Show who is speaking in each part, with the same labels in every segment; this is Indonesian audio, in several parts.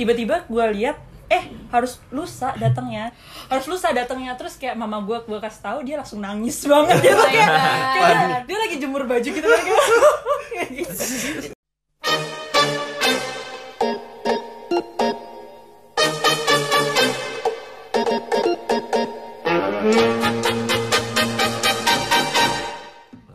Speaker 1: tiba-tiba gue lihat eh harus lusa datangnya harus lusa datangnya terus kayak mama gue gue kasih tahu dia langsung nangis banget gitu kayak, kayak dia, dia lagi jemur baju gitu kan Kayak gitu.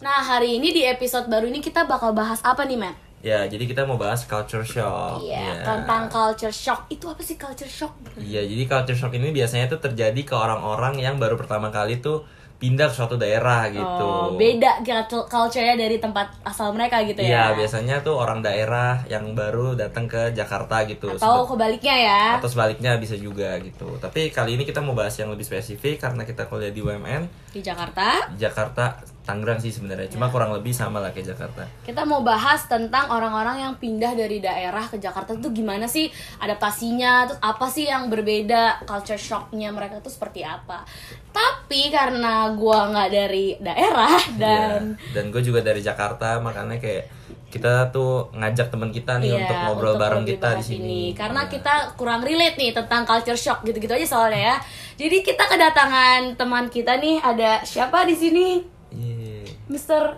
Speaker 2: Nah, hari ini di episode baru ini kita bakal bahas apa nih, Matt?
Speaker 3: Ya, jadi kita mau bahas culture shock.
Speaker 2: Iya,
Speaker 3: Ya.
Speaker 2: tentang culture shock. Itu apa sih culture shock?
Speaker 3: Iya, jadi culture shock ini biasanya tuh terjadi ke orang-orang yang baru pertama kali tuh pindah ke suatu daerah gitu.
Speaker 2: Oh, beda gitu culture-nya dari tempat asal mereka gitu ya.
Speaker 3: Iya, biasanya tuh orang daerah yang baru datang ke Jakarta gitu.
Speaker 2: Atau
Speaker 3: Sebe-
Speaker 2: kebaliknya ya.
Speaker 3: atau sebaliknya bisa juga gitu. Tapi kali ini kita mau bahas yang lebih spesifik karena kita kuliah di UMN
Speaker 2: Di Jakarta,
Speaker 3: Jakarta Tangerang sih sebenarnya.
Speaker 2: Ya.
Speaker 3: Cuma kurang lebih sama lah kayak Jakarta.
Speaker 2: kita mau bahas tentang orang-orang yang pindah dari daerah ke Jakarta tuh gimana sih adaptasinya, terus apa sih yang berbeda, culture shocknya mereka tuh seperti apa. Tapi karena gua nggak dari daerah dan
Speaker 3: Iya. dan gue juga dari Jakarta makanya kayak kita tuh ngajak teman kita nih
Speaker 2: Iya,
Speaker 3: untuk ngobrol
Speaker 2: untuk
Speaker 3: bareng
Speaker 2: lebih
Speaker 3: kita di
Speaker 2: bahas
Speaker 3: sini.
Speaker 2: ini. Karena
Speaker 3: Iya.
Speaker 2: kita kurang relate nih tentang culture shock gitu-gitu aja soalnya ya. Jadi kita kedatangan teman kita nih ada siapa di sini?
Speaker 3: Iya.
Speaker 2: Mister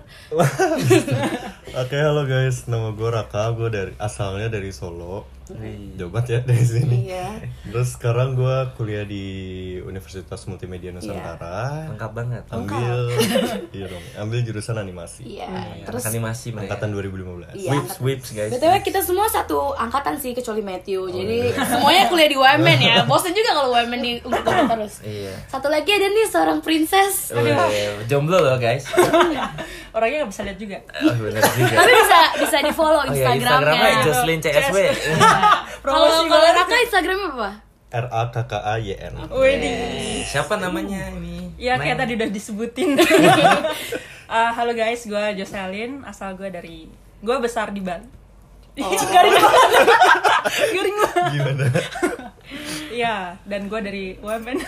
Speaker 4: Oke halo guys, nama gue Raka, gue dari asalnya dari Solo,
Speaker 3: Wih.
Speaker 4: Jawa Barat ya dari sini.
Speaker 2: Iya.
Speaker 4: Terus sekarang gue kuliah di Universitas
Speaker 2: Iya.
Speaker 4: Multimedia Nusantara,
Speaker 3: Lengkap banget.
Speaker 2: Oh,
Speaker 4: ambil, iya dong, ambil jurusan animasi,
Speaker 2: Iya.
Speaker 3: Iya,
Speaker 2: Terus
Speaker 3: anak animasi mereka.
Speaker 4: angkatan 2015.
Speaker 2: Iya,
Speaker 3: Whips, whips guys. Oh,
Speaker 2: BTW kita semua satu angkatan sih kecuali Matthew. Jadi
Speaker 3: iya.
Speaker 2: semuanya kuliah di UMN ya. Bosan juga kalau UMN di UMN terus.
Speaker 3: Iya.
Speaker 2: Satu lagi ada nih seorang princess.
Speaker 3: Wih, jomblo loh guys.
Speaker 1: orangnya nggak bisa lihat juga
Speaker 3: Oh, bener juga.
Speaker 2: Tapi bisa bisa di-follow
Speaker 3: Oh iya, Instagramnya
Speaker 2: Instagramnya.
Speaker 3: Jocelyn CSW.
Speaker 2: Kalau
Speaker 1: promosi
Speaker 2: kalau
Speaker 1: banget
Speaker 2: Raka Instagramnya apa?
Speaker 4: R A K K A Y N.
Speaker 1: Wedi.
Speaker 3: Siapa namanya
Speaker 1: Ya
Speaker 3: ini?
Speaker 2: Iya,
Speaker 3: Neng.
Speaker 1: kayak tadi udah disebutin. Eh, halo guys, gue Jocelyn, asal gue dari gue besar di Bali.
Speaker 2: Oh.
Speaker 1: Garing banget. Garing banget.
Speaker 4: Gimana?
Speaker 1: Iya, dan gue dari UMN.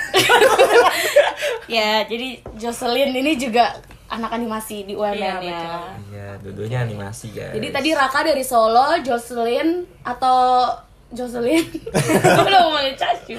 Speaker 2: Ya, jadi Jocelyn ini juga anak animasi di UMN
Speaker 1: Iya,
Speaker 2: ya.
Speaker 1: betul.
Speaker 3: Iya, dua-duanya animasi guys.
Speaker 2: Jadi tadi Raka dari Solo, Jocelyn atau Jocelyn? Gue belum mau cacu.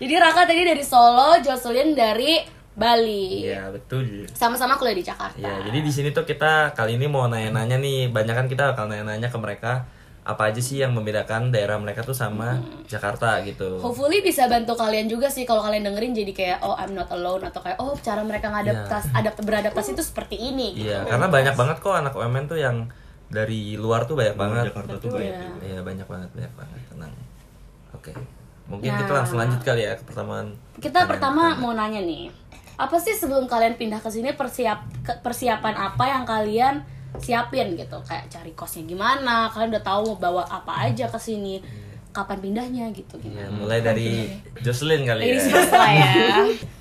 Speaker 2: Jadi Raka tadi dari Solo, Jocelyn dari Bali.
Speaker 3: Iya, betul.
Speaker 2: Sama-sama kuliah di Jakarta.
Speaker 3: Ya, jadi di sini tuh kita kali ini mau nanya-nanya nih, banyak kan kita bakal nanya-nanya ke mereka apa aja sih yang membedakan daerah mereka tuh sama Jakarta gitu.
Speaker 2: Hopefully bisa bantu kalian juga sih kalau kalian dengerin jadi kayak oh I'm not alone atau kayak oh cara mereka ngadaptas adapt- beradaptasi itu seperti ini.
Speaker 3: Iya, karena banyak banget kok anak UMN tuh yang dari luar tuh banyak banget.
Speaker 4: Jakarta tuh banyak gitu.
Speaker 2: Iya.
Speaker 3: Iya, banyak banget, banyak banget. Tenang. Oke. Mungkin kita langsung lanjut kali ya ke pertemuan.
Speaker 2: Kita pertama mau nanya nih, apa sih sebelum kalian pindah ke sini persiap ke- persiapan apa yang kalian siapin gitu? Kayak cari kosnya gimana? Kalian udah tahu mau bawa apa aja ke sini? Kapan pindahnya gitu?
Speaker 3: Iya,
Speaker 4: Hmm,
Speaker 3: mulai dari Jocelyn
Speaker 1: Oh,
Speaker 3: kali
Speaker 1: iya.
Speaker 2: Ladies
Speaker 3: ya.
Speaker 2: first lah ya.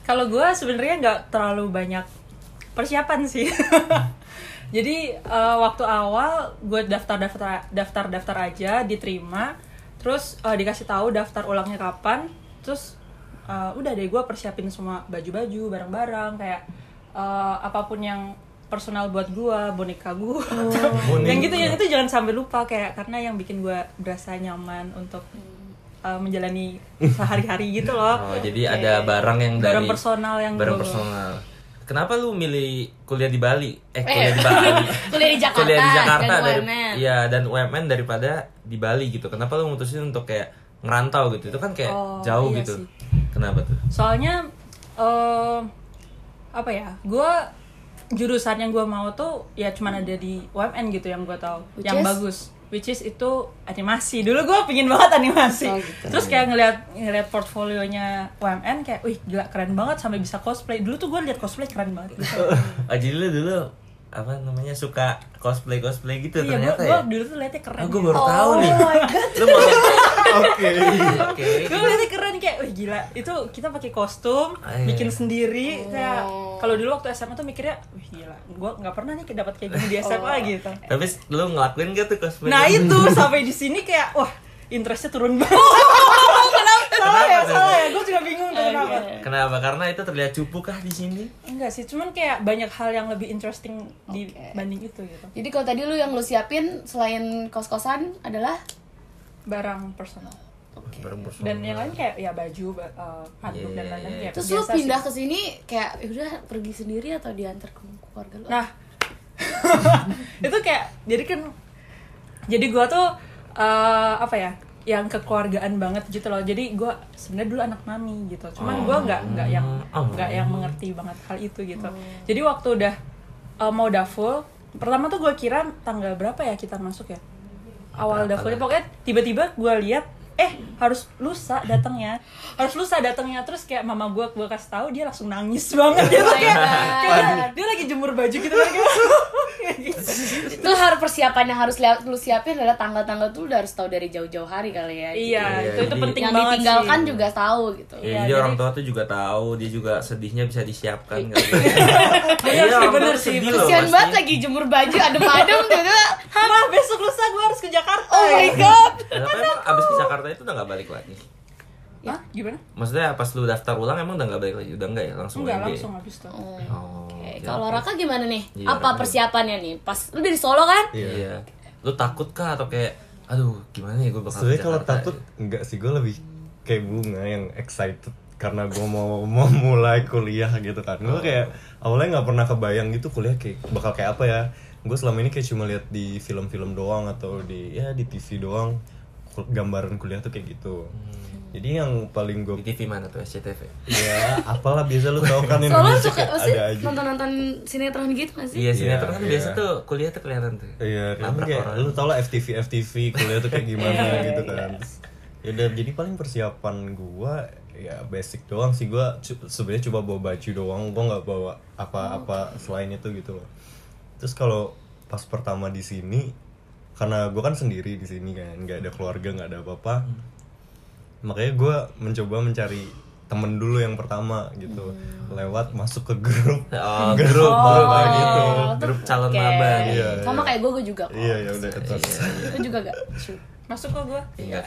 Speaker 1: Kalau gue sebenarnya nggak terlalu banyak persiapan sih. Jadi eh, waktu awal gue daftar-daftar daftar-daftar aja diterima, terus eh, dikasih tahu daftar ulangnya kapan, terus eh, udah deh gue persiapin semua baju-baju, barang-barang kayak eh, apapun yang personal buat gue, boneka gue, yang gitu yang itu jangan sampai lupa kayak karena yang bikin gue berasa nyaman untuk eh, menjalani sehari-hari gitu loh.
Speaker 3: Oh, jadi ada barang yang dari
Speaker 1: Barang personal yang
Speaker 3: barang
Speaker 1: gua-
Speaker 3: personal. Kenapa lu milih kuliah di Bali? Eh, kuliah di Bali.
Speaker 2: Kuliah di Jakarta,
Speaker 3: kuliah di Jakarta
Speaker 2: dan
Speaker 3: dari
Speaker 2: UMN.
Speaker 3: iya dan UMN daripada di Bali gitu. Kenapa lu mutusin untuk kayak ngerantau gitu? Itu kan kayak
Speaker 1: Oh,
Speaker 3: jauh
Speaker 1: iya sih.
Speaker 3: gitu. Kenapa tuh?
Speaker 1: soalnya eh apa ya gue jurusan yang gue mau tuh ya cuman ada di UMN gitu yang gue tahu
Speaker 2: Which
Speaker 1: yang
Speaker 2: is?
Speaker 1: bagus which is itu animasi dulu gue pingin banget animasi
Speaker 2: Oh, gitu.
Speaker 1: terus kayak ngeliat ngeliat portfolionya UMN kayak wih gila keren banget sampai bisa cosplay dulu tuh gue liat cosplay keren banget gitu.
Speaker 3: Oh, jadi lu dulu apa namanya suka cosplay cosplay gitu
Speaker 1: iya gue
Speaker 3: ternyata ya?
Speaker 1: dulu tuh liatnya keren
Speaker 3: Oh,
Speaker 1: ya.
Speaker 3: gue baru tahu nih. Lu mau Iya,
Speaker 4: Oke.
Speaker 3: Oke.
Speaker 1: gue liatnya keren kayak wah gila itu kita pakai kostum
Speaker 3: Iya.
Speaker 1: bikin sendiri
Speaker 2: Oh.
Speaker 1: kayak kalau dulu waktu SMA tuh mikirnya wah gila gue nggak pernah nih dapat kayak gini di SMA
Speaker 2: Oh.
Speaker 1: gitu
Speaker 3: Tapi lu ngelakuin gak tuh cosplay?
Speaker 1: nah itu sampai di sini kayak wah interestnya turun
Speaker 2: Oh,
Speaker 1: banget kenapa salah ya salah ya gue juga bingung
Speaker 2: Oh,
Speaker 1: tuh kenapa
Speaker 2: iya,
Speaker 3: Kenapa? Karena itu terlihat cupu kah di sini?
Speaker 1: enggak sih cuman kayak banyak hal yang lebih interesting dibanding itu gitu
Speaker 2: Jadi kalau tadi lu yang lu siapin selain kos-kosan adalah
Speaker 1: barang personal
Speaker 2: Oke.
Speaker 3: berumur
Speaker 1: dan
Speaker 3: semua.
Speaker 1: yang lain kayak ya baju ba- eh, handuk dan
Speaker 3: Oh. Iya.
Speaker 1: lain-lain ya
Speaker 2: Terus lu
Speaker 1: biasa
Speaker 2: pindah
Speaker 1: sih.
Speaker 2: ke sini kayak "Ya udah pergi sendiri atau diantar ke keluarga lu?
Speaker 1: nah itu kayak jadi kan jadi gua tuh eh, apa ya yang kekeluargaan banget gitu loh jadi gua sebenarnya dulu anak mami gitu cuman gua nggak nggak yang
Speaker 3: Oh.
Speaker 1: nggak yang mengerti banget hal itu gitu jadi waktu udah eh, mau daful pertama tuh gua kira tanggal berapa ya kita masuk ya awal
Speaker 3: Apa-apa
Speaker 1: dafulnya
Speaker 3: lah.
Speaker 1: pokoknya tiba-tiba gua lihat eh harus lusa datangnya harus lusa datangnya terus kayak mama gua gua kasih tahu dia langsung nangis banget gitu kayak, kayak dia, dia lagi jemur baju gitu kan Kayak gitu.
Speaker 2: itu harus persiapan yang harus lihat lu siapin adalah tanggal-tanggal tuh udah harus tahu dari jauh-jauh hari kali ya.
Speaker 1: Iya,
Speaker 3: Iya,
Speaker 1: itu, itu
Speaker 3: jadi-
Speaker 1: penting
Speaker 2: yang
Speaker 1: banget
Speaker 2: ditinggalkan
Speaker 1: sih.
Speaker 2: juga tahu gitu.
Speaker 3: Iya,
Speaker 1: Iya,
Speaker 3: jadi
Speaker 1: jadi-
Speaker 3: orang tua tuh juga tahu, dia juga sedihnya bisa disiapkan kali. Iya,
Speaker 1: sih,
Speaker 3: orang tua
Speaker 1: bener
Speaker 3: tuh
Speaker 1: sih.
Speaker 3: sedih loh,
Speaker 2: Kesian
Speaker 3: pasti.
Speaker 2: banget lagi jemur baju adem-adem gitu.
Speaker 1: Mah, besok lusa gue harus ke Jakarta. Iya.
Speaker 2: Oh my god.
Speaker 3: Kenapa Nah, emang abis ke Jakarta itu udah nggak balik lagi?
Speaker 1: Hah? Gimana?
Speaker 3: Maksudnya pas lu daftar ulang emang udah nggak balik lagi? Udah nggak ya? Langsung
Speaker 1: Enggak,
Speaker 3: UNB?
Speaker 1: langsung habis tuh.
Speaker 3: Oh,
Speaker 2: Oke,
Speaker 3: oke,
Speaker 2: kalau
Speaker 3: oke.
Speaker 2: Raka gimana nih?
Speaker 3: Iya,
Speaker 2: Apa
Speaker 3: Raka.
Speaker 2: persiapannya nih? Pas lu dari Solo kan?
Speaker 4: Iya.
Speaker 3: Iya. Lu takut kah atau kayak aduh gimana ya gue bakal ke
Speaker 4: Sebenarnya kalau
Speaker 3: Jakarta
Speaker 4: takut
Speaker 3: ya?
Speaker 4: enggak sih gue lebih kayak bunga yang excited karena gue mau memulai kuliah gitu kan gue kayak awalnya nggak pernah kebayang gitu kuliah kayak bakal kayak apa ya gue selama ini kayak cuma lihat di film-film doang atau di ya di TV doang kul- gambaran kuliah tuh kayak gitu jadi yang paling gue
Speaker 3: di TV mana tuh SCTV
Speaker 4: ya apalah biasa lu tau kan
Speaker 2: Solo
Speaker 4: Indonesia
Speaker 2: suka
Speaker 4: kayak
Speaker 2: sih
Speaker 4: ada aja
Speaker 2: nonton-nonton sinetron gitu gak sih?
Speaker 3: iya sinetron kan
Speaker 4: iya.
Speaker 3: biasa tuh kuliah tuh kelihatan tuh
Speaker 4: Iya, kan
Speaker 3: Nabrak
Speaker 4: kayak
Speaker 3: orang.
Speaker 4: lu tau lah FTV FTV kuliah tuh kayak gimana
Speaker 1: Iya,
Speaker 4: gitu kan. Ya udah jadi paling persiapan gua ya basic doang sih gua cu- sebenarnya coba bawa baju doang, gua nggak bawa
Speaker 1: Oh,
Speaker 4: apa-apa selain itu gitu loh. Terus kalau pas pertama di sini karena gua kan sendiri di sini kan, nggak ada keluarga, nggak ada apa-apa.
Speaker 1: Hmm.
Speaker 4: Makanya gua mencoba mencari temen dulu yang pertama gitu
Speaker 1: Hmm.
Speaker 4: lewat masuk ke grup
Speaker 3: Oh, grup, grup,
Speaker 4: maba gitu
Speaker 3: iya, grup
Speaker 2: Oh,
Speaker 3: calon
Speaker 2: Oke.
Speaker 3: maba nih.
Speaker 4: Iya,
Speaker 2: Sama
Speaker 4: iya.
Speaker 2: kayak gue, gue juga kok.
Speaker 4: iya ya udah terus
Speaker 2: Lu juga gak? Cu-
Speaker 1: Masuk kok gue.
Speaker 3: Iya.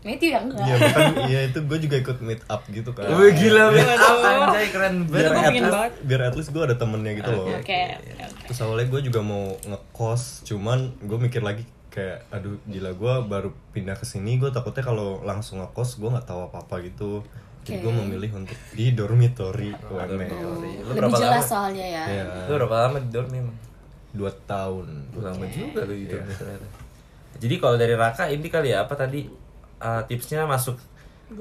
Speaker 2: Matthew ya? yang enggak.
Speaker 4: Iya bukan, iya itu gue juga ikut meet up gitu kan.
Speaker 3: Wih gila banget, anjay keren
Speaker 1: Itu gue
Speaker 2: Iya,
Speaker 3: banget.
Speaker 4: at
Speaker 1: pengen
Speaker 4: least-
Speaker 1: banget.
Speaker 4: biar at least gue ada temennya gitu
Speaker 3: iya,
Speaker 4: loh.
Speaker 2: Oke, oke, oke.
Speaker 4: Terus awalnya gue juga mau ngekos, cuman gue mikir lagi kayak aduh gila gue baru pindah ke sini gue takutnya kalau langsung ngekos gue nggak tahu apa apa gitu. Jadi gue memilih untuk di dormitory UML.
Speaker 3: Lu
Speaker 2: Lebih
Speaker 3: berapa
Speaker 2: jelas
Speaker 3: lama? Iya,
Speaker 2: soalnya ya.
Speaker 4: Ya
Speaker 3: Lu berapa lama di dorm emang?
Speaker 4: dua tahun.
Speaker 3: Lama juga lu di dorm ternyata. Jadi kalau dari Raka ini kali ya apa tadi eh, tipsnya masuk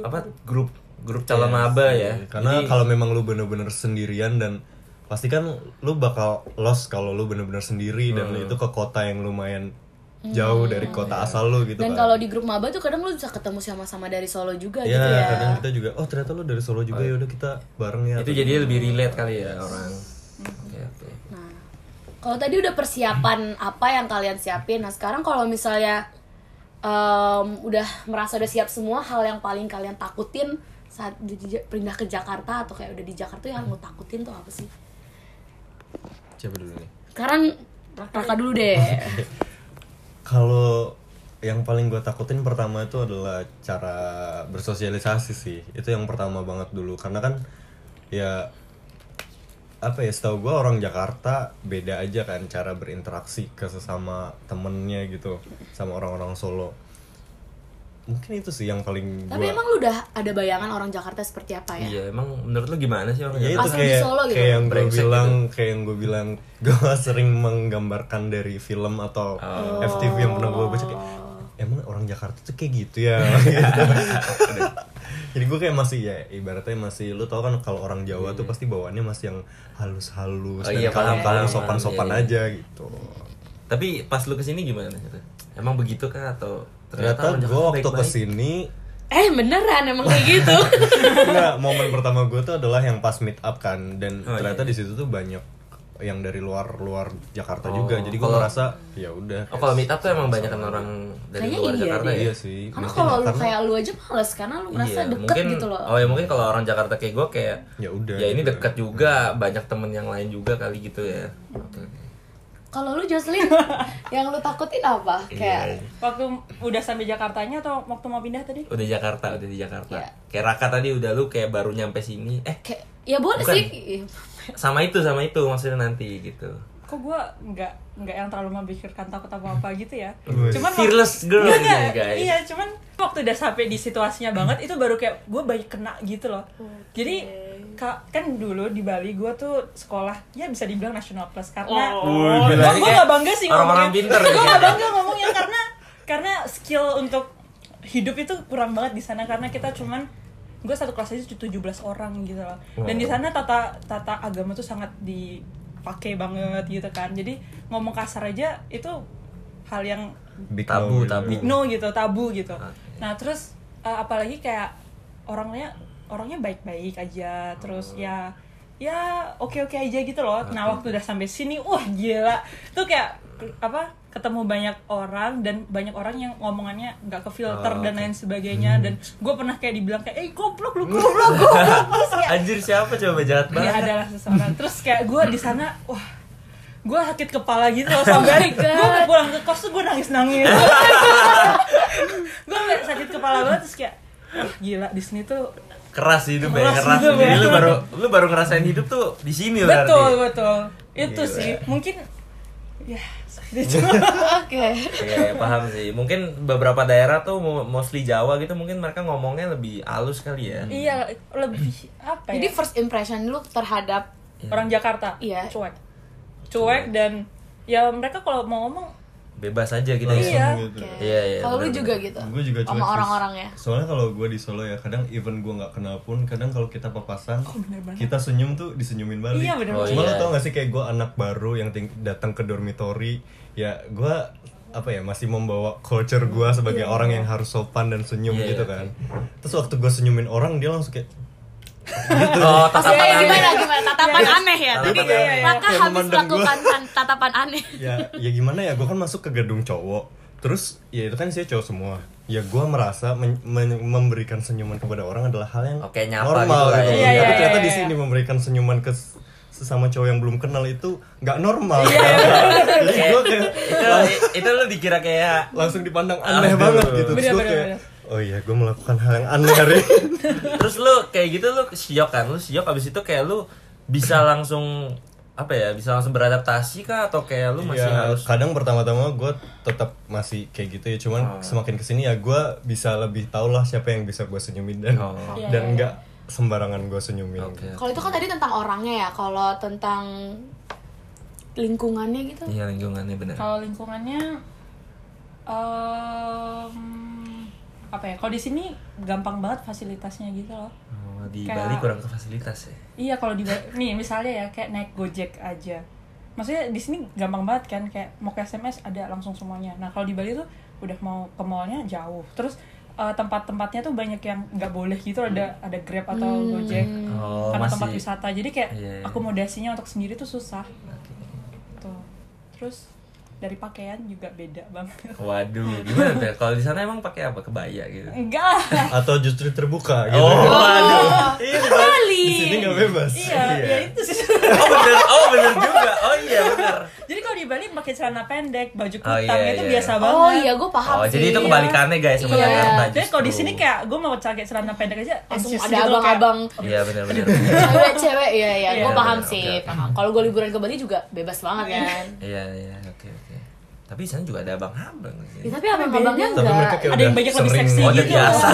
Speaker 3: apa grup grup calon maba ya.
Speaker 4: Karena
Speaker 3: Jadi-
Speaker 4: kalau memang lu bener-bener sendirian dan pasti kan lu bakal lost kalau lu bener-bener sendiri dan lu itu ke kota yang lumayan jauh dari kota asal lu gitu
Speaker 2: Hmm. Dan
Speaker 4: kan.
Speaker 2: kalau di grup maba tuh kadang lu bisa ketemu sama-sama dari Solo juga
Speaker 3: Iya,
Speaker 4: Ya,
Speaker 2: gitu ya.
Speaker 4: kadang kita juga oh ternyata lu dari Solo juga ya udah kita bareng ya.
Speaker 3: itu jadi lebih relate kali ya orang. Iya, Oke, oke.
Speaker 2: Nah, kalau tadi udah persiapan apa yang kalian siapin? Nah, sekarang kalau misalnya em, udah merasa udah siap semua hal yang paling kalian takutin saat di- di- pindah ke Jakarta atau kayak udah di Jakarta yang lo takutin tuh apa sih?
Speaker 4: coba dulu nih.
Speaker 2: Sekarang Raka dulu deh.
Speaker 4: Kalau yang paling gue takutin pertama itu adalah cara bersosialisasi sih. Itu yang pertama banget dulu karena kan ya apa ya setahu gue orang Jakarta beda aja kan cara berinteraksi ke sesama temennya gitu sama orang-orang Solo mungkin itu sih yang paling
Speaker 2: Tapi
Speaker 4: gue
Speaker 2: emang lu udah ada bayangan orang Jakarta seperti apa ya?
Speaker 3: Iya, emang menurut lu gimana sih orang
Speaker 4: ya itu
Speaker 2: Pas lu di
Speaker 4: kayak
Speaker 2: Solo gitu.
Speaker 4: kayak yang gue
Speaker 3: kan, Brengsek gitu.
Speaker 4: bilang kayak yang gue bilang gue sering menggambarkan dari film atau
Speaker 2: Oh.
Speaker 3: Oh.
Speaker 4: FTV yang pernah gue baca kayak emang orang Jakarta tuh kayak gitu ya gitu. jadi gue kayak masih ya ibaratnya masih lu tau kan kalau orang Jawa tuh pasti bawaannya masih yang halus-halus
Speaker 3: Hmm. Oh
Speaker 4: dan
Speaker 3: iya, paham, paham,
Speaker 4: kalem-kalem, sopan-sopan
Speaker 3: paham, iya,
Speaker 4: aja gitu
Speaker 3: Tapi pas lu kesini gimana? Gitu. Emang begitu kah atau
Speaker 4: ternyata
Speaker 3: orang
Speaker 4: gue
Speaker 3: Jakarta
Speaker 4: waktu
Speaker 3: baik-baik?
Speaker 4: kesini
Speaker 2: Eh beneran emang kayak gitu.
Speaker 4: Enggak, momen pertama gue tuh adalah yang pas meet up kan dan
Speaker 3: Oh,
Speaker 4: ternyata
Speaker 3: iya,
Speaker 4: di situ tuh banyak yang dari luar luar Jakarta
Speaker 3: Oh,
Speaker 4: juga. Jadi gue
Speaker 3: kalau-
Speaker 4: merasa ya udah.
Speaker 3: Oh kalau
Speaker 4: kayak
Speaker 3: meet up tuh emang banyak orang dari
Speaker 2: Kayaknya
Speaker 3: luar
Speaker 2: iya deh.
Speaker 3: Jakarta ya?
Speaker 4: Iya sih.
Speaker 2: karena
Speaker 4: mungkin
Speaker 2: kalau
Speaker 4: ya,
Speaker 2: lu
Speaker 4: karena-
Speaker 2: kayak lu aja males karena lu merasa
Speaker 3: Iya,
Speaker 2: deket
Speaker 3: mungkin,
Speaker 2: gitu loh.
Speaker 3: Oh ya mungkin kalau orang Jakarta kayak gue kayak
Speaker 4: Ya udah,
Speaker 3: Ya ini
Speaker 4: gitu.
Speaker 3: deket juga, banyak temen yang lain juga kali gitu ya. Oke.
Speaker 2: Kalau lu Jocelyn, yang lu takutin apa?
Speaker 4: Iya,
Speaker 3: Iya,
Speaker 2: Kayak
Speaker 1: Waktu udah sampai Jakartanya atau waktu mau pindah tadi?
Speaker 3: Udah Jakarta, udah di Jakarta.
Speaker 2: Iya.
Speaker 3: Kayak Raka tadi udah lu kayak baru nyampe sini. Eh
Speaker 2: kayak ya boleh
Speaker 3: Bukan.
Speaker 2: sih.
Speaker 3: sama itu sama itu maksudnya nanti gitu.
Speaker 1: kok gue nggak nggak yang terlalu memikirkan takut apa apa gitu ya
Speaker 4: Wih.
Speaker 1: cuman wak-
Speaker 3: Fearless girl
Speaker 1: Nggak,
Speaker 3: ini,
Speaker 1: nggak.
Speaker 3: guys.
Speaker 1: iya cuman waktu udah sampai di situasinya banget itu baru kayak gue banyak kena gitu loh jadi ka- kan dulu di Bali gue tuh sekolah ya bisa dibilang national plus karena
Speaker 3: Oh,
Speaker 1: gue
Speaker 3: berarti kayak
Speaker 1: gak bangga sih
Speaker 3: orang-orang
Speaker 1: ngomongnya.
Speaker 3: pinter
Speaker 1: gue
Speaker 3: gitu.
Speaker 1: gak bangga ngomongnya karena karena skill untuk hidup itu kurang banget di sana karena kita cuman gue satu kelas aja 17 orang gitu loh dan di sana tata tata agama tuh sangat dipakai banget gitu kan jadi ngomong kasar aja itu hal yang
Speaker 4: Big
Speaker 3: Tabu,
Speaker 4: no gitu.
Speaker 3: tabu.
Speaker 1: big no gitu tabu gitu
Speaker 3: Oke.
Speaker 1: nah terus uh, apalagi kayak orangnya orangnya baik-baik aja terus
Speaker 3: Oh.
Speaker 1: ya ya oke-oke aja gitu loh nah waktu udah sampai sini wah gila tuh kayak ke- apa ketemu banyak orang dan banyak orang yang ngomongannya nggak ke filter
Speaker 3: Oh,
Speaker 1: dan
Speaker 3: oke.
Speaker 1: lain sebagainya dan gue pernah kayak dibilang kayak eh goblok lu goblok goblok terus kayak
Speaker 3: Anjir siapa coba jahat
Speaker 1: dia
Speaker 3: banget.
Speaker 1: adalah seseorang terus kayak gue di sana wah gue sakit kepala gitu loh sampai gue pulang ke kos tuh gue nangis nangis gue kayak sakit kepala banget terus kayak "Wah, gila di sini tuh
Speaker 3: Keras hidup ya,
Speaker 1: Keras
Speaker 3: keras.
Speaker 1: hidup ya.
Speaker 3: Jadi lu baru lu baru ngerasain hidup tuh di sini berarti.
Speaker 1: betul betul itu
Speaker 3: Gila.
Speaker 1: sih mungkin ya seperti itu
Speaker 2: Oke.
Speaker 3: Iya, iya, paham sih. Mungkin beberapa daerah tuh mo- mostly Jawa gitu mungkin mereka ngomongnya lebih halus kali ya.
Speaker 1: iya lebih apa ya
Speaker 2: Jadi first impression lu terhadap
Speaker 1: orang Jakarta
Speaker 2: Iya.
Speaker 1: cuek cuek dan ya mereka kalau mau ngomong
Speaker 3: Bebas aja gitu.
Speaker 4: Langsung
Speaker 1: Iya.
Speaker 4: gitu.
Speaker 2: Oke.
Speaker 3: Iya, iya,
Speaker 2: Kalau lu
Speaker 3: bener-bener.
Speaker 2: juga gitu.
Speaker 4: Gue juga
Speaker 2: sama
Speaker 4: cuek
Speaker 2: ya?
Speaker 4: sih.
Speaker 2: orang-orangnya.
Speaker 4: Soalnya kalau gue di Solo ya kadang even gue nggak kenal pun kadang kalau kita papasan
Speaker 1: Oh, bener banget.
Speaker 4: kita senyum tuh disenyumin balik.
Speaker 1: Iya, bener
Speaker 3: Oh, banget.
Speaker 4: Cuma
Speaker 3: iya.
Speaker 4: lo tau gak sih kayak gue anak baru yang ting- datang ke dormitory ya gue apa ya masih membawa culture gue
Speaker 1: Hmm,
Speaker 4: sebagai
Speaker 1: iya,
Speaker 4: orang yang harus sopan dan senyum
Speaker 3: Iya,
Speaker 4: gitu
Speaker 3: iya.
Speaker 4: kan. Terus waktu gue senyumin orang dia langsung kayak
Speaker 3: Oh,
Speaker 2: Oke,
Speaker 3: tatapan
Speaker 2: Iya,
Speaker 3: aneh. Iya.
Speaker 2: gimana gimana tatapan aneh
Speaker 4: "Iya,
Speaker 2: ya tadi.
Speaker 3: Tatapan aneh.
Speaker 2: Maka
Speaker 4: Kayak
Speaker 2: habis
Speaker 4: memandang gua.
Speaker 2: melakukan tan- tatapan aneh.
Speaker 4: ya ya gimana ya gue kan masuk ke gedung cowok terus ya itu kan saya cowok semua ya gue merasa men- men- memberikan senyuman kepada orang adalah hal yang
Speaker 3: Oke, nyapa
Speaker 4: normal
Speaker 3: gitu lah
Speaker 1: ya.
Speaker 4: gitu, loh.
Speaker 1: Iya,
Speaker 4: tapi
Speaker 1: iya,
Speaker 4: ternyata
Speaker 1: iya,
Speaker 4: di
Speaker 1: iya.
Speaker 4: sini memberikan senyuman ke s- sesama cowok yang belum kenal itu nggak normal gitu. jadi gue kayak
Speaker 3: itu, itu lu dikira kayak
Speaker 4: langsung dipandang aneh
Speaker 3: Aduh.
Speaker 4: banget gitu terus
Speaker 1: Bener,
Speaker 4: gue
Speaker 1: bener,
Speaker 4: kayak
Speaker 1: bener.
Speaker 4: oh iya gue melakukan hal yang aneh hari ini."
Speaker 3: terus lu kayak gitu lu siok kan lu siok abis itu kayak lu bisa langsung apa ya bisa langsung beradaptasi kah atau kayak lu masih
Speaker 4: Iya,
Speaker 3: harus
Speaker 4: kadang pertama-tama gue tetap masih kayak gitu ya cuman
Speaker 3: Oh.
Speaker 4: semakin kesini ya gue bisa lebih tau lah siapa yang bisa gue senyumin dan
Speaker 3: Oh.
Speaker 1: Iya,
Speaker 4: dan nggak sembarangan gue senyumin
Speaker 3: oke
Speaker 2: Kalau itu kan tadi tentang orangnya ya, kalau tentang lingkungannya gitu.
Speaker 3: iya lingkungannya bener
Speaker 1: Kalau lingkungannya em, apa ya? Kalau di sini gampang banget fasilitasnya gitu loh.
Speaker 3: Oh, di
Speaker 1: Kayak-
Speaker 3: Bali kurang ke fasilitas ya
Speaker 1: Iya, kalau di Ba- nih misalnya ya kayak naik Gojek aja. Maksudnya di sini gampang banget kan kayak mau ke SMS ada langsung semuanya. Nah, kalau di Bali tuh udah mau ke mallnya jauh. Terus eh, tempat-tempatnya tuh banyak yang nggak boleh gitu ada ada Grab atau Gojek.
Speaker 3: Hmm. oh
Speaker 1: karena tempat
Speaker 3: masih
Speaker 1: wisata. Jadi kayak
Speaker 3: Iya, iya.
Speaker 1: akomodasinya untuk sendiri tuh susah. Tuh. Terus dari pakaian juga beda banget.
Speaker 3: waduh gimana tuh kalau di sana emang pakai apa kebaya gitu
Speaker 1: Enggak.
Speaker 4: atau justru terbuka gitu
Speaker 3: oh waduh Ih,
Speaker 4: di sini nggak bebas
Speaker 1: Iya, ya itu sih.
Speaker 3: oh bener oh bener juga oh iya bener
Speaker 1: Jadi kalau di Bali pakai celana pendek, baju kutang
Speaker 3: Oh, iya,
Speaker 1: itu
Speaker 3: iya.
Speaker 1: biasa banget.
Speaker 2: Oh iya, gue paham
Speaker 3: oh
Speaker 2: sih.
Speaker 3: jadi itu kebalikannya guys sama
Speaker 2: Iya.
Speaker 3: Jakarta
Speaker 1: Jadi kalau di
Speaker 3: justru.
Speaker 1: sini kayak gue mau pakai celana pendek aja
Speaker 2: Langsung
Speaker 1: anjis
Speaker 2: ada
Speaker 1: gitu loh, kayak-
Speaker 2: abang-abang
Speaker 3: iya bener bener
Speaker 2: cewek-cewek ya ya,
Speaker 1: Iya.
Speaker 2: gue paham
Speaker 3: Oke,
Speaker 2: sih,
Speaker 3: oke, oke.
Speaker 2: paham. Kalau gue liburan ke Bali juga bebas
Speaker 1: Ya,
Speaker 2: banget kan.
Speaker 3: iya iya oke oke tapi di sana juga ada abang-abang di sini.
Speaker 2: Ya, tapi abang-abangnya
Speaker 1: Tapi
Speaker 4: tapi mereka
Speaker 2: enggak.
Speaker 4: kayak
Speaker 1: Ada yang
Speaker 4: udah
Speaker 1: banyak lebih
Speaker 4: sering Iya.
Speaker 1: seksi
Speaker 3: Oh,
Speaker 1: gitu.
Speaker 3: udah biasa.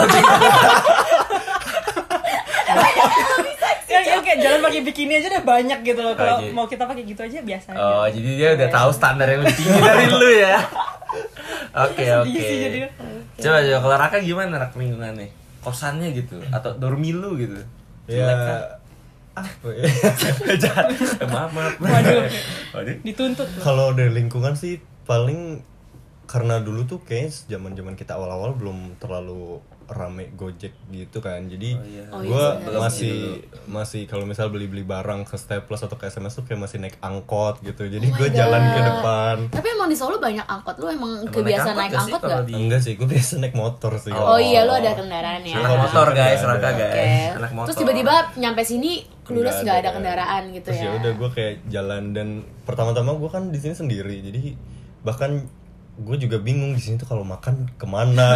Speaker 1: Ya, ya, kayak jalan pakai bikini aja udah banyak gitu loh. Kalau
Speaker 3: Oke.
Speaker 1: mau kita pakai gitu aja biasa aja.
Speaker 3: Oh, jadi dia udah tahu standar yang lebih tinggi dari lu ya. Oke,
Speaker 1: Sedih
Speaker 3: oke.
Speaker 1: sih jadinya.
Speaker 3: Coba coba kalau Raka gimana Rak lingkungan nih? Kosannya gitu atau dormi lu gitu.
Speaker 4: ya
Speaker 3: Jelek kah?
Speaker 4: apa ya
Speaker 3: Jahat. Eh, maaf, maaf.
Speaker 1: Waduh.
Speaker 3: Waduh.
Speaker 1: Dituntut loh.
Speaker 4: kalau dari lingkungan sih paling karena dulu tuh kayak zaman zaman kita awal awal belum terlalu rame gojek gitu kan jadi
Speaker 3: Oh, iya.
Speaker 2: Oh, iya,
Speaker 4: gue
Speaker 2: benar.
Speaker 3: Belum
Speaker 4: masih
Speaker 3: sih
Speaker 4: masih kalau misal beli beli barang ke Staples atau ke SMS tuh kayak masih naik angkot gitu jadi
Speaker 2: Oh
Speaker 4: gue jalan ke depan
Speaker 2: Tapi emang di Solo banyak angkot, lu emang
Speaker 3: Emang
Speaker 2: kebiasaan
Speaker 3: naik
Speaker 2: naik angkot
Speaker 3: angkot nggak sih
Speaker 2: gak?
Speaker 3: kalau di-
Speaker 4: enggak sih gue biasa naik motor sih
Speaker 2: Oh
Speaker 3: Oh.
Speaker 2: iya, lu ada kendaraan ya.
Speaker 3: Anak motor guys, Raka
Speaker 4: Oke.
Speaker 3: guys.
Speaker 2: Oke.
Speaker 3: Anak motor.
Speaker 2: Terus tiba-tiba nyampe sini lulus
Speaker 4: Nggak
Speaker 2: nggak ada
Speaker 4: kan.
Speaker 2: kendaraan gitu
Speaker 4: Terus
Speaker 2: ya.
Speaker 4: udah gue kayak jalan dan pertama-tama gue kan di sini sendiri jadi bahkan gue juga bingung di sini tuh kalau makan kemana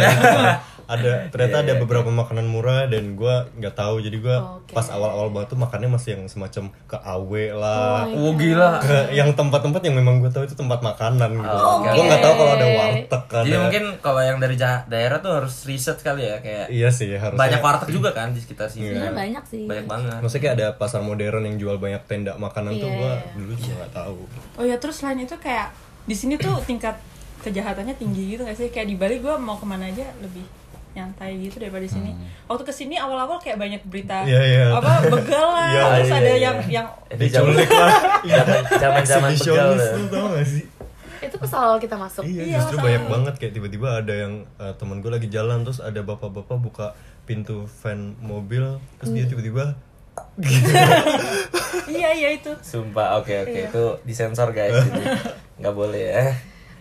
Speaker 4: gitu kan. ada ternyata
Speaker 3: Iya,
Speaker 4: ada beberapa makanan murah dan gue nggak tahu jadi gue
Speaker 2: Oke.
Speaker 4: pas awal-awal banget tuh makannya masih yang semacam ke aw
Speaker 2: Oh
Speaker 4: lah
Speaker 2: iya.
Speaker 3: Wow gila.
Speaker 4: ke yang tempat-tempat yang memang gue tahu itu tempat makanan gitu
Speaker 3: Oh, Oke.
Speaker 4: gue nggak tahu kalau ada warteg kan
Speaker 3: Jadi mungkin kalau yang dari ja- daerah tuh harus riset kali ya kayak
Speaker 4: iya sih harusnya
Speaker 3: banyak
Speaker 4: Iya.
Speaker 3: warteg juga kan di sekitar sini.
Speaker 2: Sebenarnya Iya, banyak sih.
Speaker 3: Banyak banget.
Speaker 4: maksudnya kayak ada pasar modern yang jual banyak tenda makanan tuh
Speaker 2: Iya,
Speaker 4: gue
Speaker 2: iya.
Speaker 4: dulu juga nggak tahu
Speaker 1: Oh ya terus selain itu kayak di sini tuh tingkat kejahatannya tinggi gitu gak sih? Kayak di Bali gue mau kemana aja lebih nyantai gitu daripada di sini.
Speaker 3: Hmm.
Speaker 1: Waktu kesini awal-awal kayak banyak berita
Speaker 4: Iya, iya.
Speaker 1: apa begal lah,
Speaker 4: Iya,
Speaker 1: terus
Speaker 3: iya,
Speaker 1: ada
Speaker 3: iya.
Speaker 1: yang yang
Speaker 4: diculik lah
Speaker 3: zaman zaman ya. begal.
Speaker 4: Exhibitionist tuh tau gak sih
Speaker 2: Itu pas awal kita masuk.
Speaker 4: Iya,
Speaker 1: Iya,
Speaker 4: justru
Speaker 1: sama.
Speaker 4: banyak banget kayak tiba-tiba ada yang eh, teman gue lagi jalan terus ada bapak-bapak buka pintu van mobil terus dia tiba-tiba
Speaker 1: iya iya itu.
Speaker 3: Sumpah, oke oke
Speaker 2: Iya.
Speaker 3: itu disensor guys, jadi nggak boleh ya.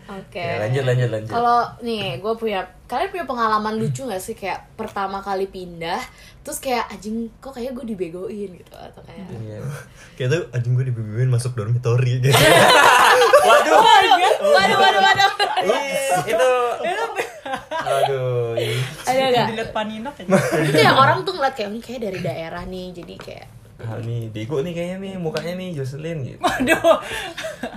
Speaker 2: Oke.
Speaker 3: Ya, lanjut lanjut lanjut.
Speaker 2: Kalau nih, gue punya kalian punya pengalaman lucu gak sih kayak pertama kali pindah, terus kayak anjing kok kayak gue dibegoin gitu atau kayak
Speaker 3: Iya.
Speaker 4: kayak tuh anjing gue dibimbingin masuk dormitory gitu.
Speaker 3: Waduh,
Speaker 2: waduh waduh waduh
Speaker 3: ih, itu,
Speaker 2: Iya.
Speaker 3: aduh, ih.
Speaker 2: ada gak?
Speaker 1: Dilihat paninok aja.
Speaker 2: itu yang orang tuh ngeliat kayak "Hmm, kayak dari daerah nih jadi kayak
Speaker 3: Ah, nih bego nih kayaknya nih mukanya nih Jocelyn gitu.
Speaker 1: Waduh.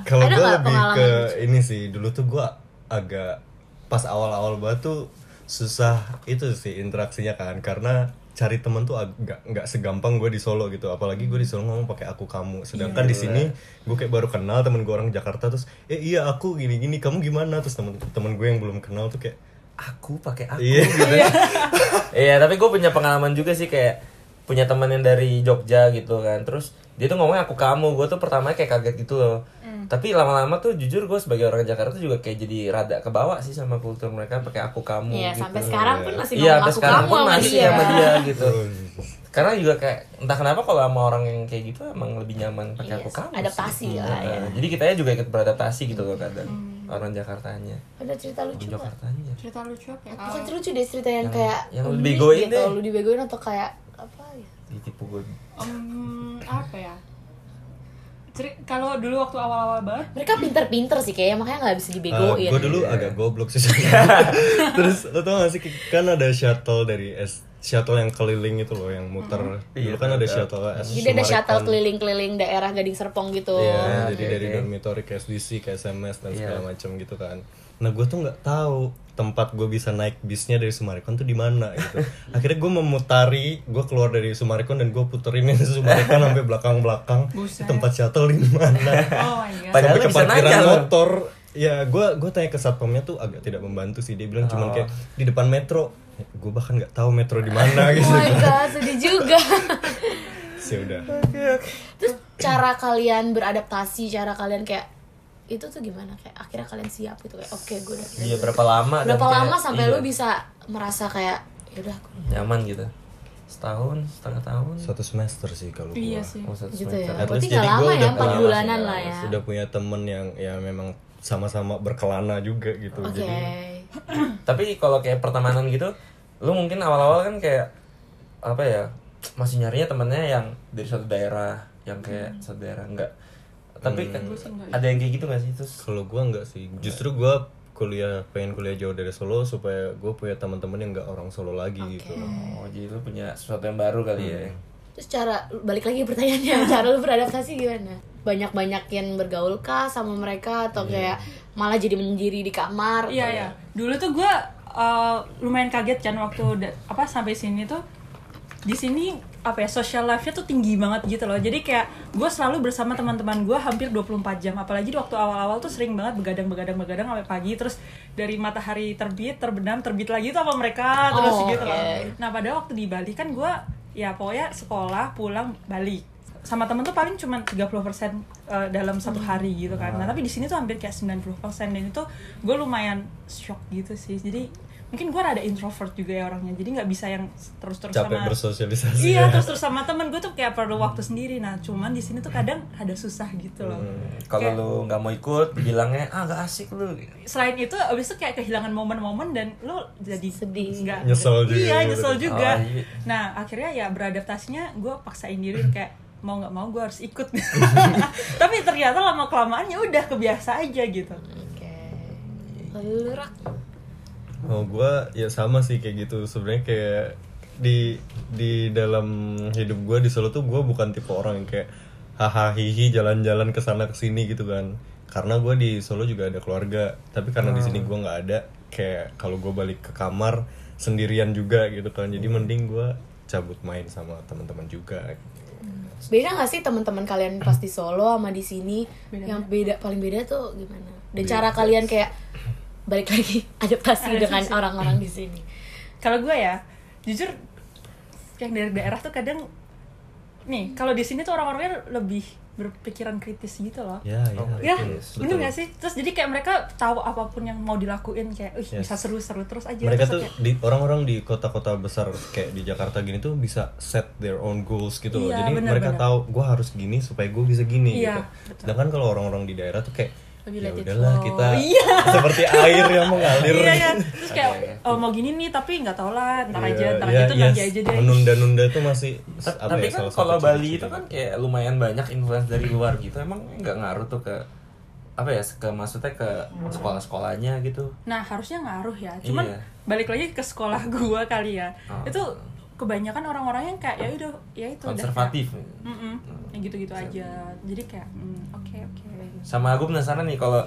Speaker 4: Kalau
Speaker 2: Ada
Speaker 4: gue
Speaker 2: nggak
Speaker 4: lebih
Speaker 2: pengalaman gitu?
Speaker 4: ke ini sih dulu tuh gue agak pas awal-awal banget tuh susah itu sih interaksinya kan karena cari temen tuh agak nggak segampang gue di Solo gitu apalagi gue di Solo ngomong pakai aku kamu sedangkan
Speaker 2: Iya.
Speaker 4: di sini gue kayak baru kenal temen gue orang Jakarta terus eh iya aku gini gini kamu gimana terus temen temen gue yang belum kenal tuh kayak
Speaker 3: Aku pakai aku.
Speaker 4: iya gitu
Speaker 3: Iya, tapi gue punya pengalaman juga sih kayak punya temen yang dari Jogja gitu kan. Terus dia tuh ngomongnya aku kamu, gue tuh pertama kayak kaget gitu loh.
Speaker 2: Hmm.
Speaker 3: Tapi lama-lama tuh jujur gue sebagai orang Jakarta tuh juga kayak jadi rada kebawa sih sama kultur mereka pakai aku kamu.
Speaker 2: ya
Speaker 3: gitu.
Speaker 2: sampai sekarang pun masih
Speaker 3: Iya,
Speaker 2: ngomong
Speaker 3: sampai
Speaker 2: aku
Speaker 3: sekarang
Speaker 2: kamu
Speaker 3: pun
Speaker 2: sama
Speaker 3: masih
Speaker 2: dia.
Speaker 3: sama dia gitu. Karena juga kayak entah kenapa kalau sama orang yang kayak gitu emang lebih nyaman
Speaker 2: Iya,
Speaker 3: pakai aku kamu. sih.
Speaker 2: adaptasi lah, Hmm.
Speaker 3: Nah,
Speaker 2: ya.
Speaker 3: Jadi kitanya juga ikut beradaptasi gitu loh kadang orang Jakartanya.
Speaker 2: Ada cerita lucu gak?
Speaker 3: Orang Jakartanya.
Speaker 1: Cerita lucu apa ya?
Speaker 2: Bukan lucu deh cerita yang,
Speaker 3: Yang-
Speaker 2: kayak
Speaker 3: yang
Speaker 2: unik
Speaker 3: dibegoin
Speaker 2: gitu,
Speaker 3: deh.
Speaker 2: lu dibegoin atau kayak apa ya?
Speaker 3: Ditipu gue.
Speaker 1: Em, apa ya? Ceri- kalau dulu waktu awal-awal banget
Speaker 2: Mereka pinter-pinter sih kayaknya makanya nggak bisa dibegoin.
Speaker 4: gue dulu
Speaker 3: Iya.
Speaker 4: agak goblok sih. Terus lo tau gak sih kan ada shuttle dari S shuttle yang keliling itu loh yang muter. Dulu
Speaker 3: Iya,
Speaker 4: kan ada
Speaker 3: ada.
Speaker 4: shuttle
Speaker 2: Hmm.
Speaker 4: S
Speaker 2: Jadi ada shuttle
Speaker 4: Sumaritan.
Speaker 2: keliling-keliling daerah Gading Serpong gitu.
Speaker 4: Iya,
Speaker 3: Ah,
Speaker 4: jadi
Speaker 3: oke,
Speaker 4: dari
Speaker 3: oke.
Speaker 4: dormitory ke SDC, ke SMS dan
Speaker 3: Iya.
Speaker 4: segala macam gitu kan. Nah gue tuh nggak tahu tempat gue bisa naik bisnya dari Sumarikon tuh di mana gitu. Akhirnya gue memutari, gue keluar dari Sumarikon dan gue puterin ini Sumarikon sampai belakang-belakang
Speaker 1: Buset.
Speaker 4: tempat shuttle di mana.
Speaker 1: Oh my god.
Speaker 3: Padahal
Speaker 4: sampai
Speaker 3: lu
Speaker 4: ke
Speaker 3: bisa
Speaker 4: parkiran
Speaker 3: nanya loh.
Speaker 4: motor ya gue gue tanya ke satpamnya tuh agak tidak membantu sih dia bilang
Speaker 2: Oh.
Speaker 4: cuman kayak di depan metro gue bahkan nggak tahu metro di mana
Speaker 2: Oh
Speaker 4: gitu
Speaker 2: my god, sedih juga.
Speaker 4: sih udah
Speaker 2: Terus cara kalian beradaptasi, cara kalian kayak itu tuh gimana kayak akhirnya kalian siap gitu kayak oke gue udah
Speaker 3: Iya, berapa lama? dan
Speaker 2: berapa
Speaker 3: kayak-
Speaker 2: lama sampai
Speaker 3: iya,
Speaker 2: lu bisa merasa kayak "Ya yaudah aku
Speaker 3: nyaman gitu? Setahun, setengah tahun.
Speaker 4: satu semester sih kalau gue
Speaker 1: Iya sih.
Speaker 3: Oh, satu
Speaker 2: gitu ya
Speaker 3: semester.
Speaker 4: At
Speaker 2: berarti
Speaker 4: least
Speaker 2: nggak
Speaker 4: jadi
Speaker 2: lama ya
Speaker 4: gua udah
Speaker 2: empat
Speaker 3: lama sih,
Speaker 2: bulanan
Speaker 3: ya.
Speaker 2: lah ya
Speaker 4: udah punya temen yang ya memang sama-sama berkelana juga gitu
Speaker 2: oke
Speaker 4: jadi
Speaker 3: Eh, Tapi kalau kayak pertemanan gitu, lu mungkin awal-awal kan kayak apa ya? Masih nyarinya temennya yang dari suatu daerah, yang
Speaker 2: Hmm.
Speaker 3: kayak satu daerah enggak. Tapi kan ada yang kayak gitu gak sih? Terus
Speaker 4: kalau gue nggak sih justru gue kuliah pengen kuliah jauh dari Solo supaya gue punya teman-teman yang nggak orang Solo lagi gitu loh
Speaker 3: oh, jadi lu punya sesuatu yang baru kali ya.
Speaker 2: terus cara balik lagi pertanyaannya cara lu beradaptasi gimana banyak-banyakin bergaul kah sama mereka atau
Speaker 3: Iya.
Speaker 2: kayak malah jadi menyendiri di kamar
Speaker 1: Iya ya. Dulu tuh gue lumayan kaget kan waktu da- apa sampai sini tuh di sini apa ya social life-nya tuh tinggi banget gitu loh. Jadi kayak gue selalu bersama teman-teman gue hampir 24 jam. Apalagi di waktu awal-awal tuh sering banget begadang begadang begadang sampai pagi. Terus dari matahari terbit terbenam terbit lagi tuh sama mereka terus
Speaker 2: Oh,
Speaker 1: gitu loh.
Speaker 2: oke.
Speaker 1: Nah pada waktu di Bali kan gue ya pokoknya sekolah pulang balik sama temen tuh paling cuma 30% eh, dalam satu hari gitu kan nah tapi di sini tuh hampir kayak 90% dan itu gue lumayan shock gitu sih jadi mungkin gue ada introvert juga ya orangnya jadi nggak bisa yang terus terus
Speaker 4: capek
Speaker 1: sama
Speaker 4: bersosialisasi
Speaker 1: iya
Speaker 4: ya.
Speaker 1: terus terus sama temen gue tuh kayak perlu waktu sendiri nah cuman di sini tuh kadang ada susah gitu loh
Speaker 3: Hmm. Kalau
Speaker 1: Kayak-
Speaker 3: lu nggak mau ikut, bilangnya ah nggak asik lu. gitu.
Speaker 1: selain itu abis itu kayak kehilangan momen-momen dan lo jadi
Speaker 2: Sedih.
Speaker 1: nggak-
Speaker 4: Nyesel juga
Speaker 1: iya
Speaker 4: gitu.
Speaker 1: nyesel juga
Speaker 3: Oh, iya.
Speaker 1: nah akhirnya ya beradaptasinya gue paksain diri
Speaker 4: Hmm.
Speaker 1: kayak mau nggak mau gue harus ikut tapi ternyata lama kelamaan ya udah kebiasa aja gitu
Speaker 2: oke Lalu lu rak
Speaker 4: Oh gua ya sama sih kayak gitu sebenarnya kayak di di dalam hidup gua di Solo tuh gua bukan tipe orang yang kayak hahaha hihi jalan-jalan ke sana ke sini gitu kan karena gua di Solo juga ada keluarga tapi karena di sini gua nggak ada kayak kalau gua balik ke kamar sendirian juga gitu kan jadi mending gua cabut main sama teman-teman juga
Speaker 2: Beda gak sih teman-teman kalian pas di Solo sama di sini yang beda paling beda tuh gimana? Dan cara kalian kayak balik lagi adaptasi dengan orang-orang di sini.
Speaker 1: kalau gue ya jujur yang dari daerah tuh kadang nih kalau di sini tuh orang-orangnya lebih berpikiran kritis gitu loh
Speaker 4: ya ya
Speaker 1: ya
Speaker 4: betul.
Speaker 1: bener gak sih terus jadi kayak mereka tahu apapun yang mau dilakuin kayak "Ih, bisa seru-seru terus aja
Speaker 4: mereka
Speaker 1: Terus
Speaker 4: tuh
Speaker 1: kayak-
Speaker 4: di orang-orang di kota-kota besar kayak di Jakarta gini tuh bisa set their own goals gitu loh.
Speaker 1: Iya,
Speaker 4: Jadi
Speaker 1: benar,
Speaker 4: mereka
Speaker 1: benar.
Speaker 4: tahu gue harus gini supaya gue bisa gini
Speaker 1: Iya,
Speaker 4: gitu. Sedangkan kalau orang-orang di daerah tuh kayak
Speaker 1: Lebih
Speaker 4: ya
Speaker 1: let it
Speaker 4: udahlah
Speaker 1: flow."
Speaker 4: kita
Speaker 1: Iya.
Speaker 4: seperti air yang mengalir.
Speaker 1: iya kan terus kayak "Oh, mau gini nih tapi nggak tau lah ntar aja ntar aja
Speaker 4: Iya,
Speaker 1: tuh nanti
Speaker 4: yes.
Speaker 1: aja deh
Speaker 4: Menunda-nunda tuh masih
Speaker 3: Ta-
Speaker 4: apa
Speaker 3: tapi
Speaker 4: ya,
Speaker 3: kan
Speaker 4: salah satu
Speaker 3: kalau Bali
Speaker 4: ciri-ciri.
Speaker 3: itu kan kayak lumayan banyak influence dari luar gitu emang nggak ngaruh tuh ke apa ya ke maksudnya ke sekolah-sekolahnya gitu
Speaker 1: Nah harusnya ngaruh ya. Cuman
Speaker 3: Iya.
Speaker 1: balik lagi ke sekolah gua kali ya.
Speaker 3: Ah.
Speaker 1: Itu kebanyakan orang-orang yang kayak ya udah ya itu udah
Speaker 3: konservatif
Speaker 1: kayak,
Speaker 2: Hmm.
Speaker 1: "Mm-mm, ya gitu-gitu aja. Jadi kayak "Mm, oke oke.
Speaker 3: sama aku penasaran nih kalau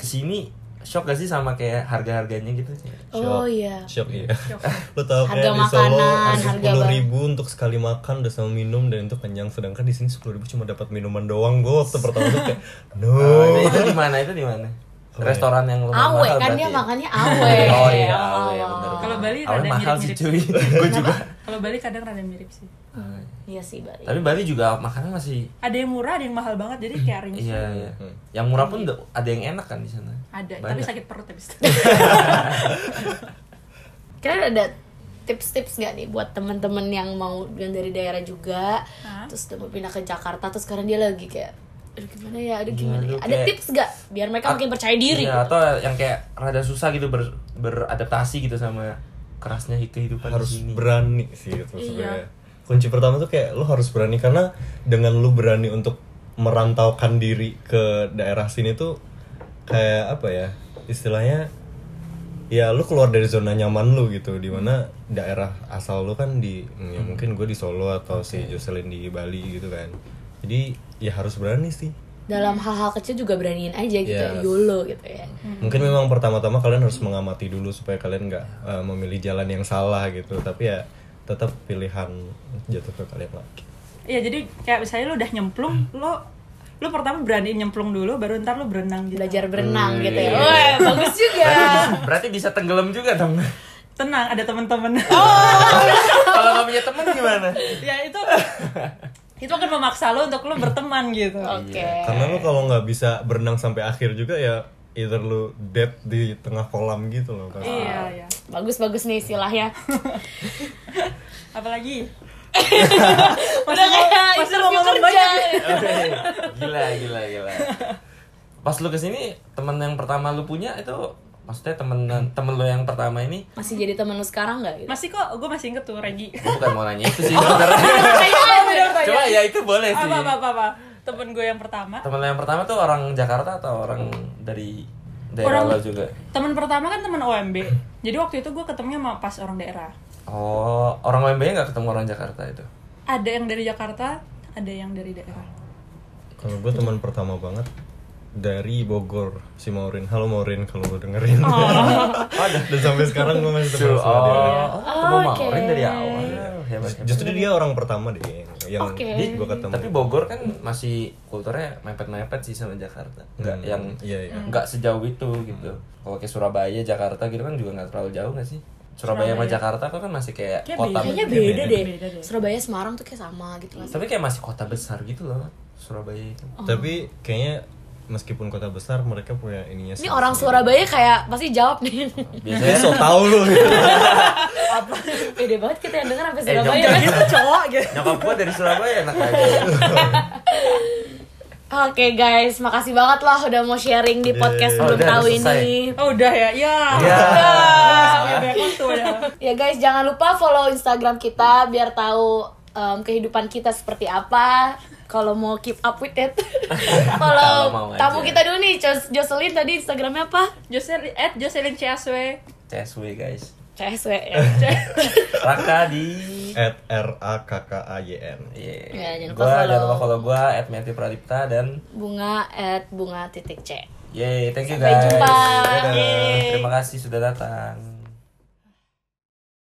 Speaker 3: kesini shock gak sih sama kayak harga-harganya gitu
Speaker 2: Oh iya.
Speaker 4: Shock iya.
Speaker 1: Shock.
Speaker 4: Lo tau
Speaker 2: Harga
Speaker 4: kayak di Solo
Speaker 2: makanan, harga
Speaker 4: sepuluh ribu untuk sekali makan udah sama minum dan itu kenyang. Sedangkan di sini sepuluh ribu cuma dapat minuman doang. Gue waktu pertama tuh kayak no.
Speaker 3: Oh,
Speaker 2: iya.
Speaker 3: itu di mana itu di mana
Speaker 4: Oh, iya.
Speaker 3: restoran yang lumayan
Speaker 2: Awe
Speaker 3: mahal
Speaker 2: kan
Speaker 3: berarti
Speaker 2: dia
Speaker 3: ya?
Speaker 2: makannya awe.
Speaker 3: oh iya awe ya bener
Speaker 1: Kalau Bali
Speaker 3: awe
Speaker 1: rada
Speaker 3: mahal sih
Speaker 1: mirip-mirip.
Speaker 3: cuy gue juga
Speaker 1: Kalau Bali kadang rada mirip sih.
Speaker 3: Awe.
Speaker 2: Iya sih Bali.
Speaker 3: tapi Bali juga makanan masih
Speaker 1: Ada yang murah, ada yang mahal banget. Jadi kayak rinci.
Speaker 3: iya iya
Speaker 4: Hmm.
Speaker 3: yang murah pun ada yang enak kan di sana
Speaker 1: Ada, tapi
Speaker 3: Banyak.
Speaker 1: sakit perut habis.
Speaker 2: Kalian ada tips-tips gak nih buat temen-temen yang mau yang dari daerah juga
Speaker 1: Hah?
Speaker 2: terus udah mau pindah ke Jakarta terus sekarang dia lagi kayak aduh gimana ya aduh gimana
Speaker 3: Aduh,
Speaker 2: ya ada
Speaker 3: kayak-
Speaker 2: tips gak biar mereka makin percaya diri
Speaker 3: Iya, atau yang kayak rada susah gitu ber, beradaptasi gitu sama kerasnya kehidupan di
Speaker 4: harus
Speaker 3: sini.
Speaker 4: berani sih itu sebenarnya. Kunci pertama tuh kayak lo harus berani karena dengan lo berani untuk merantaukan diri ke daerah sini tuh kayak apa ya? Istilahnya ya lu keluar dari zona nyaman lu gitu dimana daerah asal lu kan di ya
Speaker 3: Hmm.
Speaker 4: mungkin gue di Solo atau si Jocelyn di Bali gitu kan jadi ya harus berani sih
Speaker 2: dalam hal-hal kecil juga beraniin aja gitu
Speaker 4: Yes.
Speaker 2: YOLO gitu ya
Speaker 4: mungkin memang pertama-tama kalian harus mengamati dulu supaya kalian nggak eh, memilih jalan yang salah gitu tapi ya tetap pilihan jatuh ke kalian lagi
Speaker 1: Iya, jadi kayak misalnya lu udah nyemplung, lo lu pertama berani nyemplung dulu, baru ntar lu berenang gitu.
Speaker 2: belajar berenang gitu ya Wah, bagus juga
Speaker 3: Berarti bisa tenggelam juga dong.
Speaker 1: Tenang, ada temen-temen.
Speaker 2: Oh.
Speaker 3: Oh, Kalau nggak punya teman gimana?
Speaker 1: ya itu itu akan memaksa lo untuk lo berteman gitu.
Speaker 2: oke
Speaker 4: Iya, karena lu kalau nggak bisa berenang sampai akhir juga ya either lu dead di tengah kolam gitu loh pasti.
Speaker 1: Iya, iya.
Speaker 2: bagus bagus nih istilahnya
Speaker 1: Apalagi
Speaker 2: udah kayak
Speaker 1: masih mau
Speaker 2: interview
Speaker 1: ngomong
Speaker 2: kerja
Speaker 3: gila, gila, gila. Pas lu kesini, teman yang pertama lu punya itu maksudnya temen temen lu yang pertama ini
Speaker 1: gitu.
Speaker 2: masih jadi temen lu sekarang nggak gitu
Speaker 1: masih kok gue masih inget tuh Regi.
Speaker 3: gua bukan mau nanya itu
Speaker 2: Oh.
Speaker 3: sih
Speaker 2: ya,
Speaker 3: sebenarnya.
Speaker 2: Iya,
Speaker 3: Cuma ya itu boleh sih.
Speaker 1: apa apa apa apa temen gue yang pertama
Speaker 3: Temen lu yang pertama tuh orang Jakarta atau orang dari daerah
Speaker 1: Orang-
Speaker 3: lu juga?
Speaker 1: temen pertama kan temen OMB jadi waktu itu gue ketemunya sama pas orang daerah
Speaker 3: Oh, orang Lembeh nggak ketemu orang Jakarta itu.
Speaker 1: ada yang dari Jakarta ada yang dari daerah
Speaker 4: kalau gue teman pertama banget dari Bogor si Maurin halo Maurin kalau lu dengerin
Speaker 3: Ada.
Speaker 4: dan sampai sekarang gue masih teman
Speaker 3: Tuh,
Speaker 4: sama dia
Speaker 3: oh, oh,
Speaker 2: Oke.
Speaker 3: okay. dari awal. Hebat, hebat.
Speaker 4: justru dia orang pertama deh yang
Speaker 2: Oke.
Speaker 4: gue ketemu
Speaker 3: Tapi Bogor kan masih kulturnya mepet-mepet sih sama Jakarta. Enggak
Speaker 4: Hmm,
Speaker 3: yang
Speaker 4: iya, iya.
Speaker 3: enggak sejauh itu gitu. Kalau kayak Surabaya, Jakarta gitu kan juga nggak terlalu jauh nggak sih? Surabaya, sama Jakarta tuh kan masih kayak
Speaker 1: Kayak
Speaker 3: kota.
Speaker 2: kayaknya
Speaker 3: be-
Speaker 2: beda deh
Speaker 1: Beda deh.
Speaker 2: Surabaya Semarang tuh kayak sama gitu kan
Speaker 3: Tapi kayak masih kota besar gitu loh Surabaya itu.
Speaker 2: Oh.
Speaker 4: tapi kayaknya meskipun kota besar mereka punya ininya
Speaker 2: ini orang Surabaya kayak pasti jawab nih
Speaker 4: Jadi so
Speaker 3: Biasanya
Speaker 4: tau lu
Speaker 2: beda banget kita yang denger sampai
Speaker 3: Eh,
Speaker 2: Surabaya
Speaker 3: jangan
Speaker 2: gitu cowok gitu
Speaker 3: nyokap gua dari Surabaya enak aja.
Speaker 2: Oke guys, makasih banget lah udah mau sharing di podcast
Speaker 4: Yeay.
Speaker 2: belum
Speaker 3: Iya, Udah,
Speaker 2: tahu
Speaker 3: udah selesai.
Speaker 2: ini.
Speaker 1: oh udah ya ya
Speaker 2: Iya.
Speaker 3: Ya.
Speaker 1: udah ya banyak waktu udah
Speaker 2: Ya guys, jangan lupa follow Instagram kita biar tahu em, kehidupan kita seperti apa kalau mau keep up with it
Speaker 3: Kalau mau
Speaker 2: kalau tamu
Speaker 3: aja.
Speaker 2: kita dulu nih Jos- Jocelyn tadi instagramnya apa
Speaker 1: Jocelyn at Jocelyn CSW
Speaker 3: CSW guys.
Speaker 2: CSW ya.
Speaker 3: Raka di
Speaker 4: at r a k k a y n
Speaker 2: Ya,
Speaker 3: Iya.
Speaker 2: jangan lupa
Speaker 3: Gua
Speaker 2: follow.
Speaker 3: jangan lupa follow gua at Matthew Pradipta dan
Speaker 2: bunga at bunga titik c
Speaker 3: yay, thank you
Speaker 2: sampai
Speaker 3: guys.
Speaker 2: jumpa
Speaker 3: Dadah.
Speaker 2: Yeay.
Speaker 3: Terima kasih sudah datang.